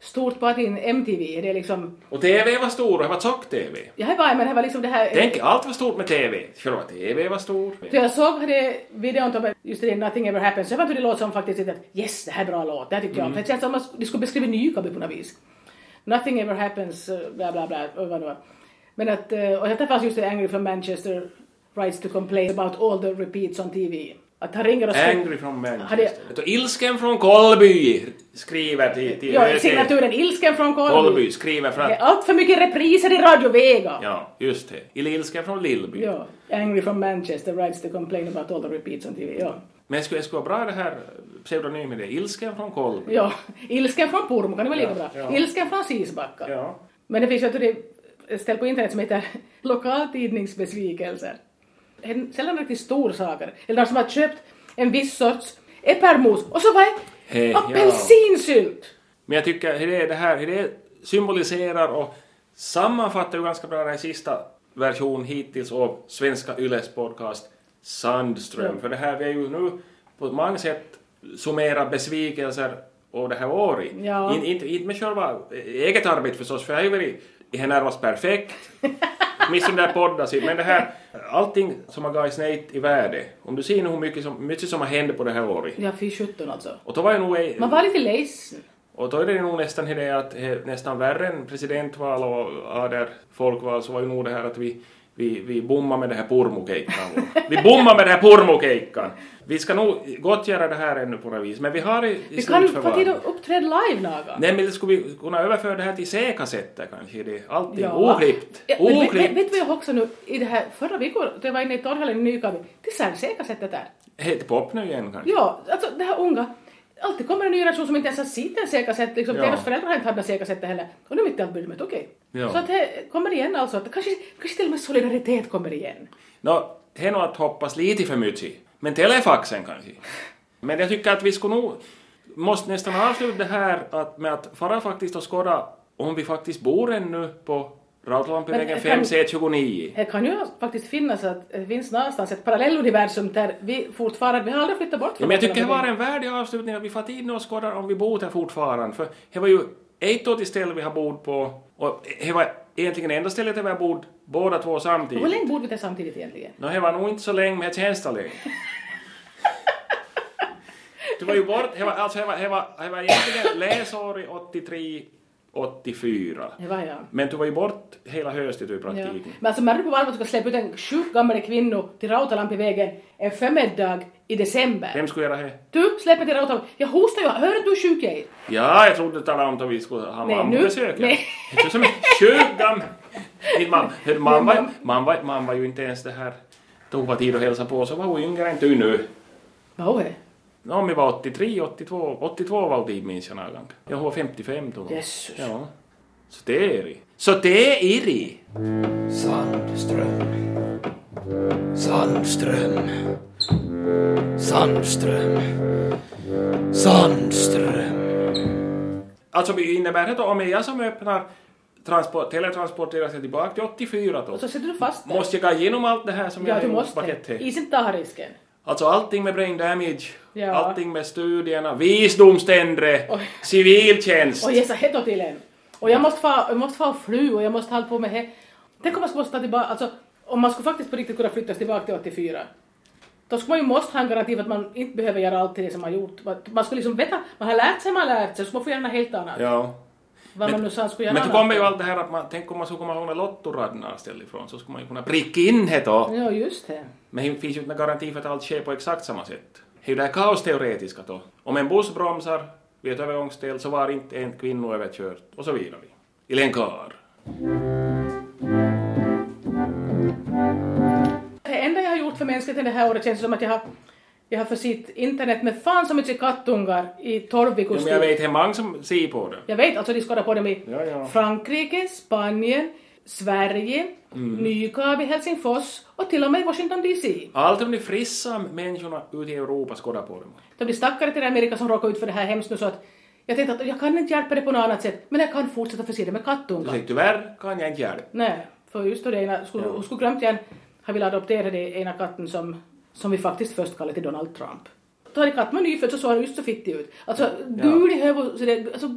S3: stort på att in MTV, det är liksom,
S2: Och TV var stor och det var tjock-TV.
S3: ja det var men det var liksom det här.
S2: Tänk, allt var stort med TV. Själva TV var stor.
S3: Så jag såg det videon om just det Nothing Ever Happens, så jag vet inte det låt som faktiskt inte att yes, det här är bra låt, det här
S2: Mm.
S3: tyckte jag om. För det känns som att det skulle beskriva Nykabi på något vis. Nothing Ever Happens, eh, bla bla bla, och vad det var. Men att, eh, och detta fanns just det Angry from Manchester Rights to Complain about all the repeats on TV. Att han ringer och
S2: Angry from
S3: Hade-
S2: Manchester. Hade... Ilsken från Kolby skriver till... till
S3: Ja,
S2: ÖT.
S3: signaturen Ilsken från Kolby.
S2: Kolby skriver för
S3: Det är
S2: att...
S3: allt för mycket repriser i Radio Vega.
S2: Ja, just det. Eller Ilsken från Lillby.
S3: Ja, Angry from Manchester Rights to Complain about all the repeats on TV. Ja,
S2: Men det skulle, det skulle vara bra det här pseudonymen, det. är Ilsken från Kolby.
S3: ja. Ilsken från Pormo kan det vara lika
S2: Ja,
S3: bra.
S2: ja.
S3: Ilsken från Sisbacka.
S2: Ja.
S3: Men det finns ju jag tror det är ett ställe på internet som heter Lokaltidningsbesvikelser. En sällan riktigt stor sak. Eller någon som har köpt en viss sorts äppelmos och så var
S2: Hej,
S3: det
S2: ja.
S3: apelsinsylt!
S2: Men jag tycker hur det, det här hur det symboliserar och sammanfattar ju ganska bra den sista version hittills av svenska Yles podcast Sandström.
S3: Ja.
S2: För det här vi är ju nu på många sätt summera besvikelser och det här året.
S3: Ja.
S2: In, inte, inte med själva eget arbete förstås, för jag är ju väldigt, det här närmast perfekt. Åtminstone där poddar sig. Men det här, allting som har gått snett i världen. Om du ser nu hur mycket som, mycket som har hänt på det här året.
S3: Ja, fy sjutton alltså.
S2: Och då var jag nog...
S3: Man var lite ledsen.
S2: Och då är det nog nästan det att eh, nästan värre än presidentval och ader folkval så var ju nog det här att vi vi, vi bommar med det här purmukeikkan. Vi bommar med det här purmukeikkan. Vi ska nog gottgöra det här ännu på något vis, men vi har i, i
S3: Vi kan ju få
S2: slutförvaring.
S3: tid att uppträda live någon
S2: Nej, men det skulle vi kunna överföra det här till C-kassetter kanske. Det, allting
S3: Ja.
S2: oklippt.
S3: Ja, men vet-
S2: oklippt.
S3: Vet vet du vad jag också nu, i det här förra veckan, då jag var inne i Torhällen i Nykabi, det sänds säkert sett det där.
S2: Helt pop nu igen kanske.
S3: Ja, alltså det här unga, alltid kommer en ny generation som inte ens har sett en säkerhet, liksom
S2: Ja.
S3: deras föräldrar har inte haft en säkerhet heller. Och nu är mitt i allt börjat, okej.
S2: Ja.
S3: Så att det kommer igen alltså, att kanske, kanske till och med solidaritet kommer igen.
S2: Nå, det är nog att hoppas lite för mycket. Men telefaxen kanske. Men jag tycker att vi skulle nog... Måste nästan avsluta det här att, med att fara faktiskt och skåda om vi faktiskt bor ännu på Rautalamppivägen
S3: Men kan-
S2: 5C29.
S3: Det kan ju faktiskt finnas att det finns någonstans ett parallelluniversum där vi fortfarande, vi har aldrig flyttat bort
S2: Ja,
S3: från
S2: men jag tycker det
S3: Rautalampi.
S2: var en värdig avslutning att vi får tid nu och skådar om vi bor där fortfarande. För det var ju ett av de ställen vi har bott på och det var egentligen det enda stället där vi har bott båda två samtidigt.
S3: Hur länge bodde vi där samtidigt egentligen?
S2: Nå, det var nog inte så länge, men det känns det länge. Du var ju bort, det var, alltså, det var, det var, det var egentligen läsåret 83, 84.
S3: Det var jag.
S2: Men du var ju bort hela hösten i
S3: Ja.
S2: praktiken.
S3: Men alltså Märry på varvet ska släppa ut en sjuk gammal kvinna till Rautalampivägen en förmiddag i december.
S2: Vem skulle göra det?
S3: Du släpper till Rautalampi. Jag hostar ju, hör inte hur sjuk jag är?
S2: Ja, jag trodde du talade om att vi skulle ha
S3: Nej,
S2: mamma
S3: nu-
S2: på besök. ja.
S3: nej.
S2: Det är som en sjuk gam- Min mamma, hör, mamma,
S3: Min mam-
S2: mamma, mamma var ju inte ens det här då hon var tid att hälsa på så var hon yngre än du nu.
S3: Vad är det?
S2: Ja, om vi var 83, 82, 82 var det minns jag någon gång. Ja, hon var 55 då.
S3: Jesus.
S2: Ja. Så det är det. Så det är det.
S5: Sandström. Sandström. Sandström. Sandström.
S2: Alltså det innebär det då om jag som öppnar transport, teletransporterar sig tillbaka till 84 då.
S3: Och så sitter du fast där.
S2: Måste jag gå igenom allt det här som
S3: Ja,
S2: jag
S3: du
S2: har gjort
S3: måste.
S2: paket till?
S3: Isen tar risken.
S2: Alltså allting med brain damage,
S3: Ja.
S2: allting med studierna, visdomständre,
S3: Oj.
S2: civiltjänst.
S3: Och gissa hett till en. Och jag måste få, jag måste få fly och jag måste hålla på med det. Tänk om man skulle måste ta tillbaka, alltså om man skulle faktiskt på riktigt kunna flyttas tillbaka till 84. Då skulle man ju måste ha en garanti för att man inte behöver göra allt det som man gjort. Man- Man skulle liksom veta, man har lärt sig, man har lärt sig, så man får göra något helt annat.
S2: Ja.
S3: Vad man nu sen skulle göra
S2: Men då
S3: annat.
S2: kommer ju allt det här att man, tänk om man skulle komma ihåg när lottoraderna ställde ifrån så skulle man ju kunna pricka in det då.
S3: Ja, just det.
S2: Men det finns ju inte någon garanti för att allt sker på exakt samma sätt. Det är ju det här kaosteoretiska då. Om en buss bromsar vid ett övergångsställe så var inte en kvinna överkörd och så vidare. Eller en karl.
S3: Det enda jag har gjort för mänskligheten det här året känns som att jag har, jag har försitt internet med fan så mycket kattungar i torv vid
S2: Ja, men
S3: kusten.
S2: jag vet hur många som ser på det.
S3: Jag vet, alltså de skådar på dem i
S2: Ja, ja.
S3: Frankrike, Spanien, Sverige,
S2: Mm.
S3: Nykabi, Helsingfors och till och med Washington DC.
S2: Allt om de frissa människorna ute i Europa skådar på dem.
S3: De blir stackare till Amerika som råkar ut för det här hemskt nu så att jag tänkte att jag kan inte hjälpa det på något annat sätt men jag kan fortsätta förse det med
S2: Du
S3: kattungar.
S2: säger tyvärr kan jag inte göra det.
S3: Nej, för just då det ena, skulle,
S2: Ja.
S3: skulle glömt igen, har velat adoptera den ena katten som, som vi faktiskt först kallade till Donald Trump. Då hade katten var nyfödd så såg han just så fittig ut. Alltså gul i huvudet, så det- alltså,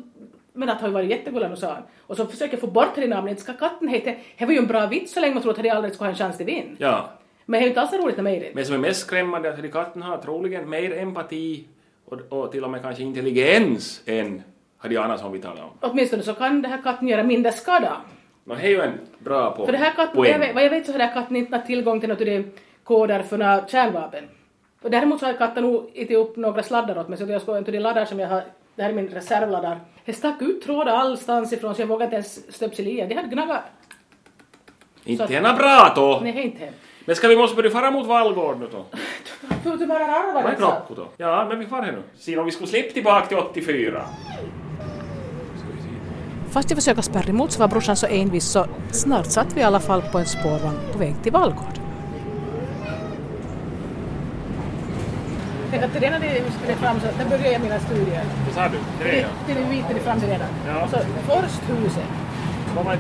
S3: men att han har ju varit jättegullig nu sa han. Och så försöker jag få bort det i namnet, ska katten heta, det var ju en bra vits så länge man trodde att det aldrig skulle ha en chans till vinn.
S2: Ja.
S3: Men det är ju inte alls roligt med mig
S2: Men som är mest skrämmande är att de katten har troligen mer empati och, och till och med kanske intelligens än de andra som vi talar om.
S3: Åtminstone så kan den här katten göra mindre skada.
S2: Nå, det är ju en bra på
S3: För det här katten, vad jag, vet- vad jag vet så har den här katten inte haft tillgång till något av de koder för några kärnvapen. Och däremot så har katten nog inte upp några sladdar åt mig så att jag ska inte de laddar som jag har, det här är min reservladdar. Det stack ut trådar allstans ifrån så jag vågade inte ens stöpsel i Det hade gnaggat.
S2: Inte
S3: så-
S2: ena bra då!
S3: Nej, det är inte hem.
S2: Men ska vi måste börja fara mot Vallgård nu då?
S3: Tror du bara arvar
S2: Vad är
S3: den så?
S2: klockan då? Ja, men vi far här nu. Sen om vi skulle slippa tillbaka till 84.
S6: Fast jag försöker spärra emot så var brorsan så envis så snart satt vi i alla fall på en spårvagn på väg till Vallgård.
S3: Tänk att redan när det skulle fram så, där började jag mina studier.
S2: Vad sa du? Tre?
S3: Det det är viten fram det redan.
S2: Ja.
S3: Så Forsthuset.
S2: Vad var det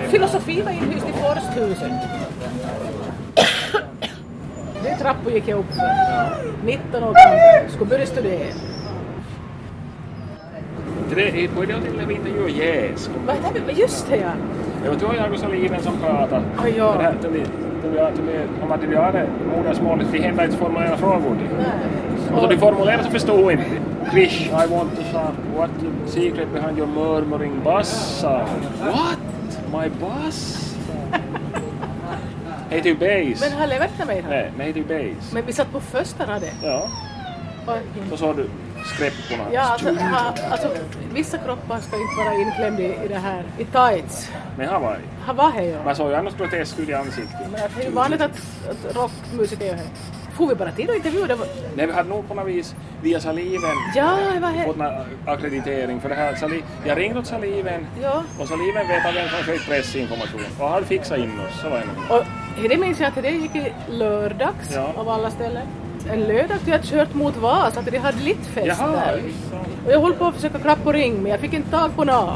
S2: där?
S3: Filosofi var inhyst i Forsthuset. Det trappor gick jag upp för. 19 år gammal. Skulle börja studera.
S2: Tre? På det till och med inte göra jäs.
S3: Vad hände? Men Just det ja.
S2: Jo, du har Jarkko Salinen som pratar.
S3: Ai joo.
S2: Det här tuli, tuli, tuli omat idealet, modersmålet, det händer inte formulera frågor. Alltså du formulerar så förstår inte. Krish, I want to start what the secret behind your murmuring bus sound. What? My bus? Heter ju
S3: Men
S2: bass.
S3: han lever inte med här.
S2: Nej, men heter ju bass.
S3: Men vi satt på första raden.
S2: Ja,
S3: Och-
S2: så sa du skräpporna.
S3: Ja, alltså, ha, alltså vissa kroppar ska inte vara inklämda i i det här. I tights.
S2: Men Hawaii.
S3: Här var det ju.
S2: Man såg ju annars grotesk ut i ansiktet.
S3: Men att det är ju vanligt att, att rockmusik är ju här. Får vi bara tid att intervjua? Det var...
S2: Nej, vi hade nog på något vis via saliven
S3: Ja, det var här.
S2: fått någon akkreditering för det här. Sali- jag ringde åt saliven
S3: Ja.
S2: och saliven vet vem som sköt pressinformation och han fixade in oss. Så var det nog.
S3: Och det minns jag att det gick i lördags
S2: Ja.
S3: av alla ställen. En lördag då jag kört mot Vasa, att de hade littfest
S2: Jaha,
S3: där. Och jag höll på att försöka klappa på ring, men jag fick inte tag på någon.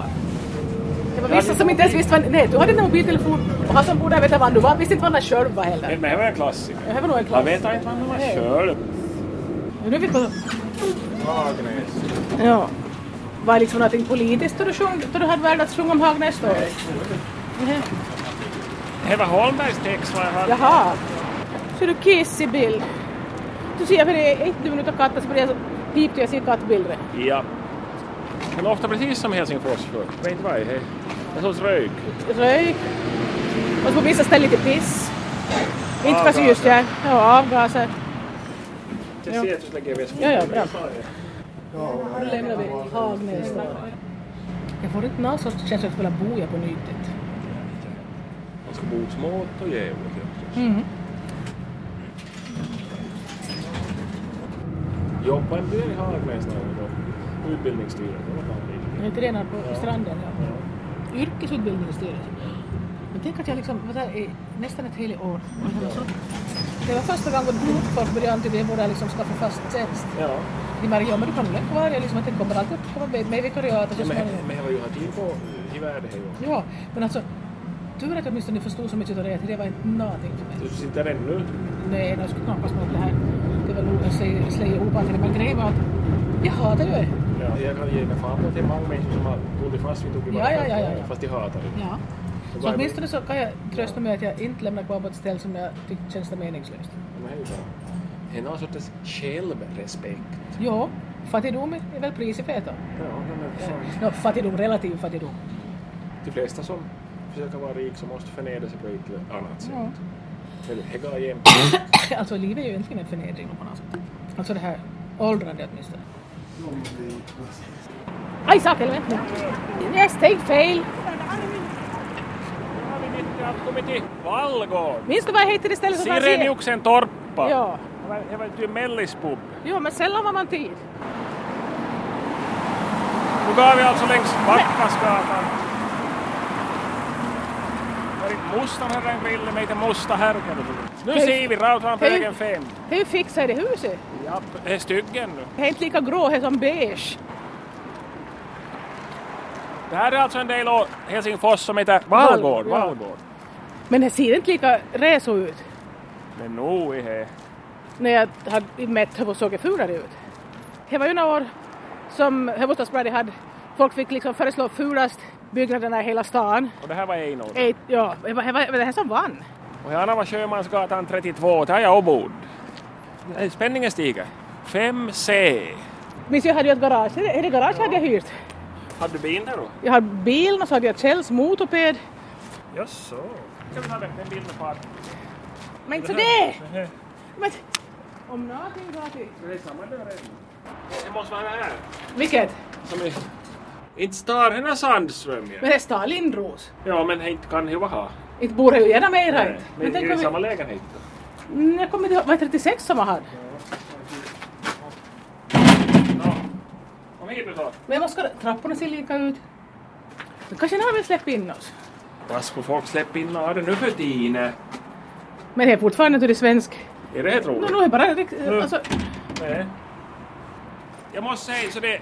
S3: Det var vissa som inte ens visste vad... Nej, du hade en mobiltelefon och han som bodde där vet jag vad du var. Visste inte vad han själv var heller.
S2: Men det här var en klassiker.
S3: Det här var nog en
S2: Jag
S3: klass.
S2: vet inte vad han var
S3: Nej.
S2: själv.
S3: Nu är vi på... Ja. Var det liksom någonting politiskt då du, sjung, då du hade värd att sjunga om Hagnäs då? Nej.
S2: Det var Holmbergs text vad jag hade.
S3: Jaha. Så du kiss i bild. Du ser för det är ett minut av katten så blir jag så pip till jag ser kattbilder.
S2: Ja. Det låter precis som Helsingfors förr. Jag vet inte vad det är. En sorts rök.
S3: Röjk. Och så på vissa ställen lite piss. Inte fast just det. Ja, avgaser.
S2: Jag
S3: Ja.
S2: ser att du släcker väskan.
S3: Ja, ja, bra. Nu lämnar vi Hagnäs då. Jag får inte någon sorts känsla att vilja bo på nyttigt.
S2: Man ska bo smått och jävligt. Jobba en del i Hagnäs någon gång. Utbildningsstyrelsen. vad fan det är.
S3: Jag är tränad på stranden. Ja. Yrkesutbildningsstyrelsen. Men tänk att jag liksom var där i nästan ett helt år. liksom Det var första gången folk började antyda att jag borde liksom skaffa fast tjänst.
S2: Ja.
S3: De bara, ja men du kan väl vara kvar? Jag liksom, att det kommer alltid att komma med, med vikariat och så
S2: Men
S3: småningom.
S2: men det var ju här tid på i världen. här ju.
S3: Ja, men alltså tur att jag åtminstone förstod så mycket av det att det var inte någonting för mig.
S2: Du sitter ännu.
S3: Nej, jag skulle knappast mot det här. Det var nog att slä- slä ihop allt. Men grejen var att jag hatar ju det.
S2: Ja, jag kan ge mig fan på att det är många människor som har hållit fast vid Tokyo
S3: Ja, ja, ja, ja, ja.
S2: Fast de hatar det.
S3: Ja. Så åtminstone så kan jag trösta mig att jag inte lämnar kvar på ett ställe som jag tyckte känns det meningslöst.
S2: Men det är ju bra. Det är någon sorts självrespekt.
S3: Ja, fattigdom är väl priset för det.
S2: Ja, men fan.
S3: No, fattigdom, relativ fattigdom.
S2: De flesta som försöker vara rik så måste förnedra sig på ett annat sätt.
S3: Ja.
S2: Eller hägga jämt.
S3: Alltså livet är ju egentligen en förnedring om man har sagt. Alltså det här åldrande åtminstone. Aj, saken vänta nu. Yes, take fail.
S2: Nu har vi mitt i allt kommit till Vallgård.
S3: Minns du vad heter det stället som man ser?
S2: Sireniuksen torppa.
S3: Ja.
S2: Det var ju mellispub.
S3: Jo, men sällan har man tid.
S2: Nu går vi alltså längs Vackasgatan. Var inte mustan herran ville mig till musta härkan. Nu
S3: Hej.
S2: ser vi Rautlandsvägen
S3: Hej.
S2: 5.
S3: Det är ju fixat i det huset.
S2: Japp, det är styggen nu.
S3: Det är inte lika grå här som beige.
S2: Det här är alltså en del av Helsingfors som heter Vallgård.
S3: ja.
S2: Vallgård.
S3: Men det ser inte lika reso ut.
S2: Men nog är det.
S3: När jag hade mätt hur såg det fulare ut. Det var ju några år som Hövudstadsbladet hade. Folk fick liksom föreslå fulast byggnaderna i hela stan.
S2: Och det här var Einord.
S3: Ett, ja, det var, det var det här som vann.
S2: Och här var Sjömansgatan 32, där jag bor. Nej, Spänningen stiger. 5C.
S3: Minns jag hade ju ett garage. Är det- Är det garage hade jag hyrt?
S2: Hade du bil där då?
S3: Jag hade bilen och så hade jag Kjells motoped.
S2: Jaså. Ska vi ta den den bilden på att...
S3: Men inte så det! Men, om någonting gratis.
S2: Det är samma dörr Det måste vara här.
S3: Vilket?
S2: Som är... Inte star henne Sandström ju.
S3: Men det är Star Lindros.
S2: Ja, men inte kan ju vara här.
S3: Inte bor jag ju gärna mer här.
S2: Nej, Men det är ju
S3: om vi-
S2: samma lägenhet.
S3: Mm, Jag kommer inte ihåg, var det 36 som var här?
S2: Ja. Kom hit nu då.
S3: Men vad ska trapporna se lika ut? Men kanske någon vill släppa in oss.
S2: Vad skulle folk släppa in laden nu för tiden?
S3: Men det är fortfarande inte det svensk.
S2: Är det
S3: Nu
S2: roligt?
S3: no, är bara
S2: Mm.
S3: rikt- alltså,
S2: Nej. Jag måste säga så det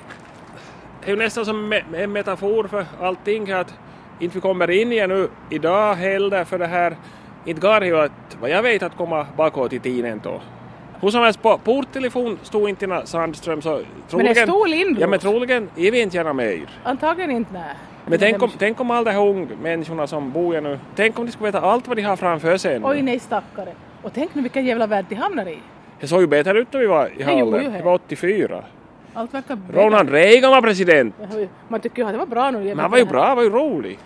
S2: det är ju nästan som me- en metafor för allting här att inte vi kommer in igen nu idag heller för det här inte går det ju att vad jag vet att komma bakåt i tiden då. Hur som helst, på porttelefon stod inte Tina Sandström så troligen...
S3: stod Lindros.
S2: Ja men troligen, jag vet inte gärna mer.
S3: antagligen inte nej.
S2: Men tänk om, tänk om alla de här unga människorna som bor här nu, tänk om de skulle veta allt vad de har framför sig nu.
S3: Oj nej stackare. Och tänk nu vilken jävla värld de hamnar i.
S2: Det såg ju bättre ut när vi var i
S3: gjorde ju
S2: Halle,
S3: det.
S2: det var 84.
S3: Allt verkar bättre.
S2: Ronald Reagan var president.
S3: Jag hör ju- Man tycker ju att det var bra nu.
S2: Men han var ju bra, han var ju rolig.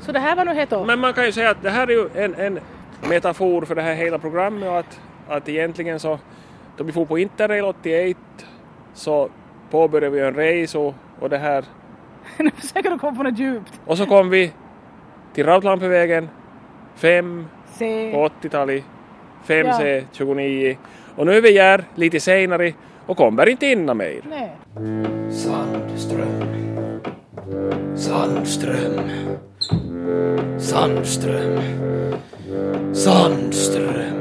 S3: Så det här var nog hett då.
S2: Men man kan ju säga att det här är ju en, en metafor för det här hela programmet och att, att egentligen så då vi for på Interrail 81 så påbörjade vi en resa och, och det här
S3: Nu försöker du komma på något djupt.
S2: och så kom vi till Rautlampevägen 5
S3: Se.
S2: på 80-talet 5C 29 och nu är vi här lite senare och kommer inte in mer.
S3: Nej.
S5: Sandström. Sandström. Sandström. Sandström.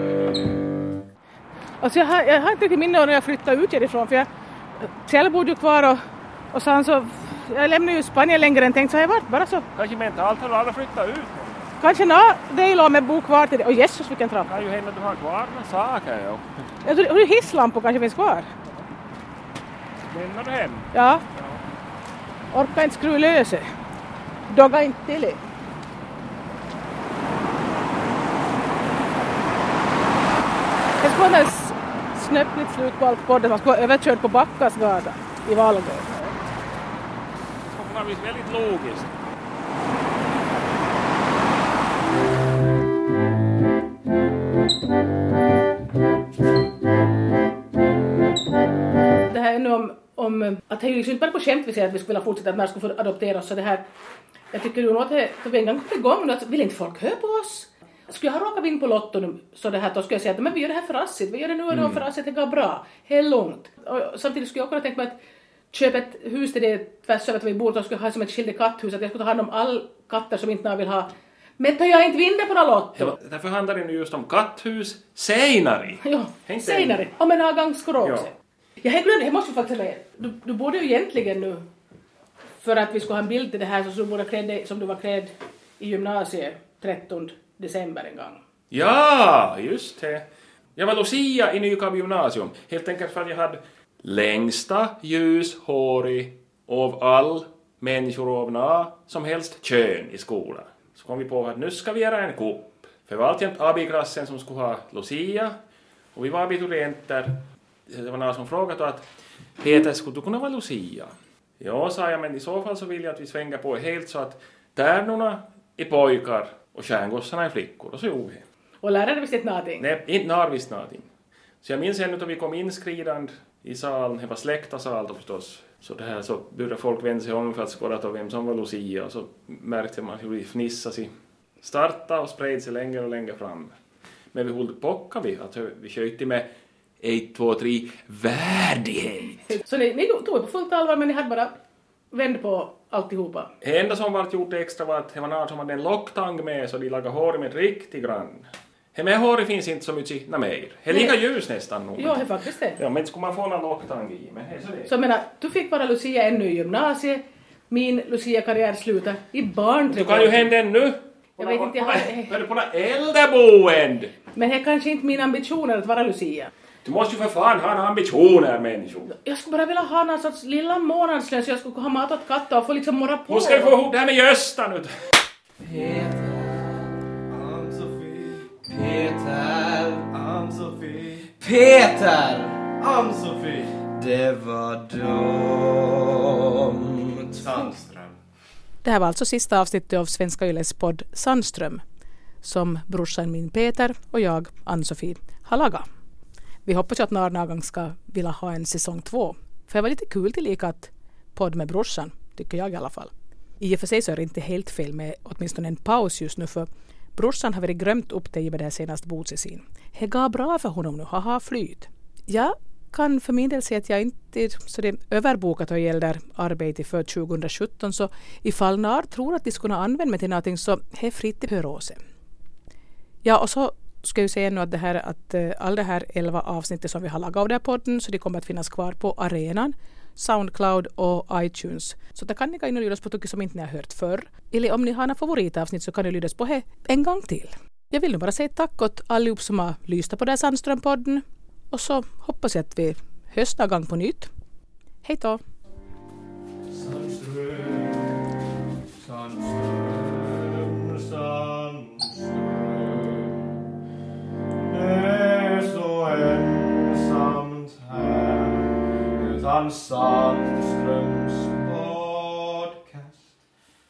S3: Alltså jag har, jag har inte riktigt minne av när jag flyttade ut härifrån för jag själv bodde ju kvar och, och sen så Jag lämnar ju Spanien längre än tänkt så har jag varit bara så.
S2: Kanske mentalt har du aldrig flyttat ut.
S3: Kanske nå, det är låg med bo kvar till det. Åh jösses vilken trapp.
S2: Det är ju hemma du har kvar några saker. Och
S3: Jag tror, har du hisslampor kanske finns kvar?
S2: lämnar du hem.
S3: Ja. Orkar inte skruva löse. Dogga inte till det. Det skulle vara ett snöpligt slut på allt podden. Man skulle vara överkörd på Backas gata i Valgård.
S2: Och Det är väldigt logiskt.
S3: Det här är nu om, om att det är ju liksom inte bara på skämt vi säger att vi skulle vilja fortsätta att när skulle få adoptera oss så det här. Jag tycker du låter för en gång för igång nu att vill inte folk höra på oss? Skulle jag ha råkat vinna på Lotto nu så det här då skulle jag säga att men vi gör det här för rassigt, vi gör det nu och då för rassigt, det går bra, det är lugnt. Och samtidigt skulle jag kunna tänka mig att köpa ett hus till det tvärs över där vi bor och skulle ha som ett skilde katthus, att jag skulle ta hand om all katter som inte någon vill ha. Men tar jag inte vinner på något Lotto?
S2: Ja, Därför handlar det nu just om katthus, seinari.
S3: Jo,
S2: Hej,
S3: senare. Om en avgång ska
S2: Ja.
S3: ja. ja, jag glömde, jag måste ju faktiskt säga du, du borde ju egentligen nu, för att vi skulle ha en bild till det här, så du borde ha klädd dig som du var klädd i gymnasiet 13 december en gång.
S2: Ja, just det. Jag var Lucia i Nykabi gymnasium. Helt enkelt för att jag hade längsta ljushårig av all människor av nå som helst kön i skolan. Så kom vi på att nu ska vi göra en kupp. För det var alltjämt AB-klassen som skulle ha Lucia och vi var abiturienter. Det var någon som frågade då att Peter, skulle du kunna vara Lucia? Ja, sa jag, men i så fall så vill jag att vi svänger på helt så att tärnorna är pojkar och stjärngossarna är flickor. Och så gjorde vi.
S3: Och läraren visste inte någonting.
S2: Nej, inte Narvis någonting. Så jag minns ännu när vi kom inskridande i salen, det var släktasal då förstås, så det här så började folk vända sig om för att skåda till vem som var Lucia och så märkte man hur vi fnissade sig. Starta och spred sig längre och längre fram. Men vi höll pocka vi, att vi sköjde med 1, 2, 3, värdighet!
S3: Så ni, ni tog det på fullt allvar, men ni hade bara vänd på alltihopa.
S2: Det enda som vart gjort extra var att det var någon som hade en locktang med så de lagade håret med riktigt grann. Det med håret finns inte så mycket nå mer. Det är lika ljus nästan nog.
S3: Jo, det är faktiskt det.
S2: Ja, men inte skulle man få någon locktang i, men hej så det.
S3: Så jag menar, du fick vara Lucia ännu i gymnasiet, min Lucia-karriär slutade i barnträdgården.
S2: Du kan ju hem den nu!
S3: Jag vet inte, jag har-
S2: Hör du på något äldreboende?
S3: Men det är kanske inte min ambition att vara Lucia.
S2: Du måste ju för fan ha en ambitioner, människor!
S3: Jag skulle bara vilja ha någon sorts lilla månadslön så jag skulle kunna ha mat åt katter och få liksom morra på.
S2: Nu ska vi få ihop det här med Gösta nu!
S1: I'm Sofie,
S5: Peter.
S1: I'm Sofie,
S5: Peter!
S1: I'm Sofie
S5: Det var dumt.
S1: Sandström.
S6: Det här var alltså sista avsnittet av Svenska Yles podd Sandström som brorsan min Peter och jag, Ann-Sofie, har lagat. Vi hoppas ju att Narnagang ska vilja ha en säsong två. För det var lite kul tillika att podd med brorsan, tycker jag i alla fall. I och för sig så är det inte helt fel med åtminstone en paus just nu för brorsan har varit grömt upp det i det här senaste botsesin. Det går bra för honom nu, haha flyt. Jag kan för min del säga att jag inte är så det är överbokat vad gäller arbete för 2017 så ifall NAR tror att de skulle kunna använda mig till någonting så är fritt i Pöråsen. Ja, och så ska jag ju säga nu att, det här, att eh, all det här elva avsnittet som vi har lagat av den här podden, så det kommer att finnas kvar på arenan, Soundcloud och iTunes. Så det kan ni gå in och lyda på tycker som inte ni har hört förr. Eller om ni har några favoritavsnitt så kan ni lyda på det en gång till. Jag vill nu bara säga tack åt allihop som har lyssnat på den här Sandström-podden. Och så hoppas jag att vi hörs någon gång på nytt. Hej då!
S4: Sandström, Sandström, Sandström. Det är så ensamt här utan Sandström